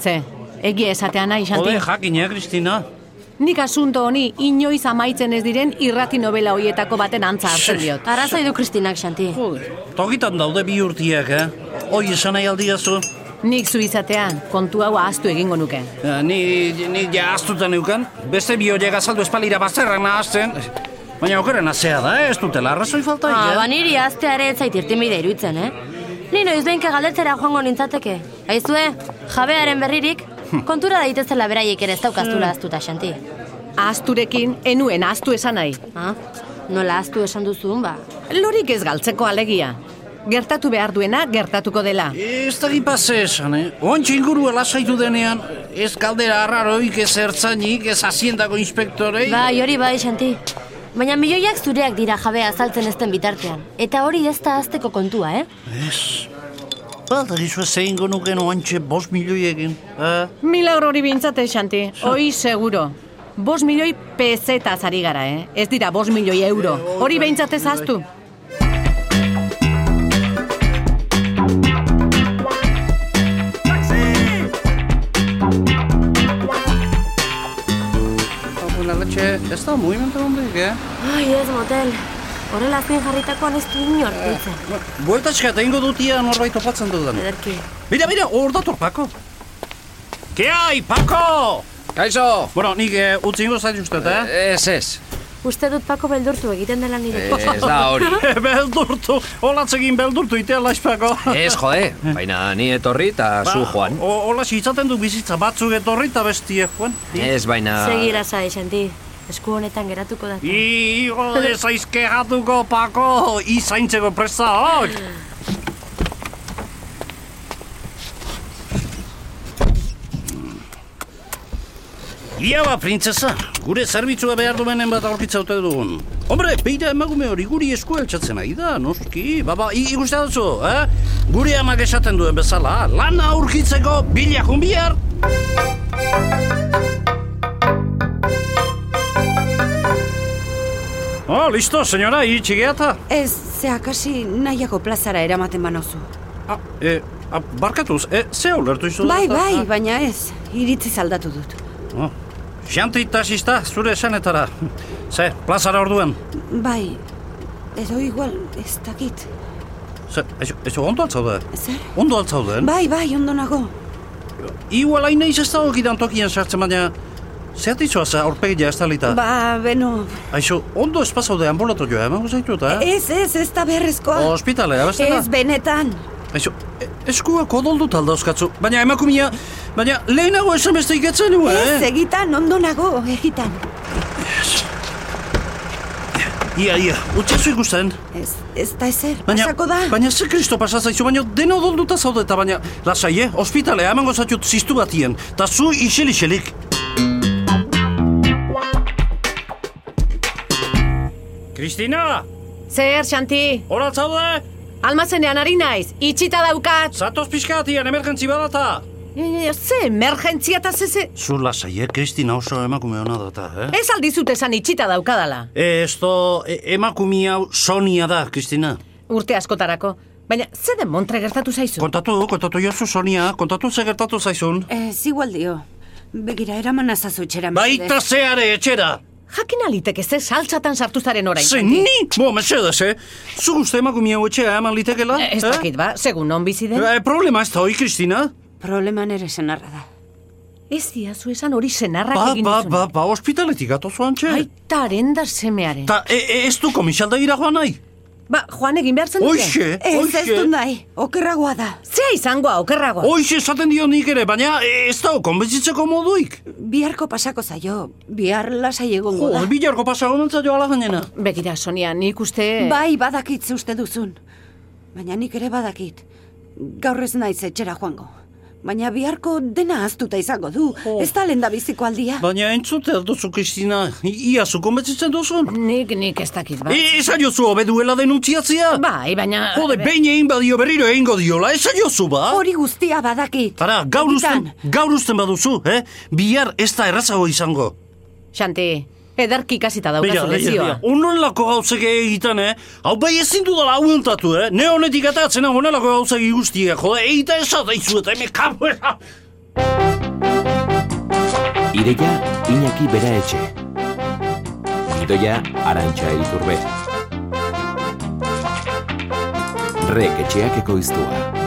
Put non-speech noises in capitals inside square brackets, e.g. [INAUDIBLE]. Ze, egia esatea nahi, Xanti. Ode, jakin, eh, Kristina? Nik asunto honi inoiz amaitzen ez diren irrati novela hoietako baten antza hartzen diot. Arrazoi du Kristinak, Xanti. Tokitan daude bi urtiak, eh? Hoi esan nahi aldiazu? Nik zu izatea kontu hau ahaztu egingo nuke. Eh, Ni, ni ja astuta neukan, beste bi horiek azaldu espalira bazterrak nahazten. Baina okeren azea da, eh? ez dutela arrazoi falta. eh? Ah, ja. ba niri aztea ere ez zait irtenbide iruditzen, eh? Ni noiz behinka galdetzera joango nintzateke. Aizue, jabearen berririk, kontura daitezela beraiek ere ez daukaztula aztuta, Xanti. Ahazturekin enuen ahaztu esan nahi. Ah, nola aztu esan duzun, ba. Lorik ez galtzeko alegia. Gertatu behar duena gertatuko dela. Ez da gipase esan, eh? Ontsi inguru lasaitu denean, ez kaldera arraroik, ez ertzainik, ez haziendako inspektorei. Bai, hori bai, Xanti. Baina milioiak zureak dira jabea azaltzen ezten bitartean. Eta hori ez da azteko kontua, eh? Ez. Balda gizu ez egingo nuken oantxe bost milioiekin. Eh? Milagro hori bintzate, Xanti. Hoi seguro. Bos milioi peseta ari gara, eh? Ez dira bos milioi euro. Hori behintzatez ahaztu. Bueno, letxe, ez da movimento hondik, eh? Ai, ez, motel. Horrela azken jarritakoan ez du inor ditzen. Bueltatxka eta ingo dutia norbait topatzen dudan. Ederki. Bira, bira, hor dator Pako. Ke hai, Pako! Kaixo! Bueno, nik eh, utzi ingo zait ustet, eh? Ez, ez. Uste dut pako beldurtu egiten dela nire. Ez da [LAUGHS] hori. [LAUGHS] beldurtu, olatzegin beldurtu itea laiz Pako. Ez, jode. Baina ni etorri eta zu [LAUGHS] joan. Olatxe itzaten du bizitza batzuk etorri eta bestie joan. Ez, baina... Segira zai, Xanti. Esku honetan geratuko da. Igo dezaizke jatuko, Pako, izaintzeko presta hor. Ia ba, printzesa, gure zerbitzua behar duenen bat aurkitza ote dugun. Hombre, beira emagume hori guri esku eltsatzen ari da, noski. Ba, Baba, ikusten duzu, eh? Gure amak esaten duen bezala, lana aurkitzeko bila jun bihar. Oh, listo, senyora, iritsi gehiata. Ez, ze akasi nahiako plazara eramaten banozu. Ah, e, a, barkatuz, e, ze ulertu izu? Bai, bai, baina ez, iritzi aldatu dut. Oh. Xanti tasista, zure esanetara. Ze, plazara orduen. Bai, edo igual, ez dakit. Ze, ez, ez ondo altzaude? Zer? Ondo altzauden? Bai, bai, ondo nago. Igual hain naiz ez dago gidan tokian sartzen baina... Zeatitzoa za aurpegia ez talita. Ba, beno, Aixo, ondo ez pasaude ambulatu joa, emango zaitu eta, eh? ez, ez, ez da beharrezkoa. Hospitalea, bestela. E- Ez, benetan. Aixo, e, eskuak odoldu taldauzkatzu. Baina emakumia, baina lehenago esan beste iketzen nuen, Ez, eh? egitan, ondo nago, egitan. Ia, ia, utxezu ikusten. Ez, ez da ezer, pasako da. Baina ze kristo pasatzaizu, baina dena odolduta zaudeta, baina... Lasai, eh? Hospitalea emango zaitut ziztu batien. Ta zu isel-iselik. Kristina, Zer, Xanti? horat zaude? Almazenean ari naiz, itxita daukat. Zatoz pixkatian, emergentzi badata. E, Ze, emergentzia eta ze, ze... Zu lasai, eh? Kristina oso emakume hona data, eh? Ez aldizut esan itxita daukadala. Eh? Esto, e, emakume hau Sonia da, Kristina. Urte askotarako. Baina, ze den montre gertatu zaizu? Kontatu, kontatu jozu Sonia, kontatu ze gertatu zaizun. Ez, igual dio. Begira, eraman azazu etxera. Baita mesedez. zeare etxera! Jakin aliteke ze saltzatan sartu zaren orain. Ze ni? Bo, mesedez, eh? Zu guzti emakume hau etxea eman litekela? Eh, Ez dakit ba, segun non bizi den. Eh? Eh, problema ez da hoi, Kristina? Probleman ere senarra da. Ez diazu esan hori senarrak Ba, egin ba, duzuna. ba, ba, ospitaletik atozu antxe. Aitaren da semearen. Ta e, e, ez du komisaldegira joan nahi? Ba, joan egin behar zen dute. Oixe, Ez, ez Eh? oixe, du nahi, okerragoa da. Zea izango aukerragoa. oixe esaten dio nik ere, baina e, ez da konbentzitzeko moduik. Biharko pasako zaio, bihar lasai egongo Jo, da. bilarko pasago mentza joala gainena. Begira, Sonia, nik uste... Ba- Bai, badakit ze uste duzun. Baina nik ere badakit. Gaur ez naiz etxera joango. Baina biharko dena aztuta izango du. Ez da lenda biziko aldia. Baina entzute duzu, Kristina, I- ia zu konbentzitzen duzun. Nik, nik ez dakit ba. E, ez aiozu obeduela denuntziatzea? Bai, baina... Jode, behin egin badio berriro egingo diola, ez aiozu ba? Hori guztia badakit. Ara, gaur Egitan, uzten, gaur uzten baduzu, eh? Bihar ez da errazago izango. eh, Xanti, ederki ikasita daukazu lezioa. Onolako gauzek egiten, eh? Hau bai ezin dudala hauentatu, eh? Ne honetik atatzen hau onelako gauzek guztiak, jode, egita ez da izu eta hemen kapuera. Ideia Iñaki Bera Etxe. Gidoia Arantxa Iturbe. Rek etxeak ekoiztua.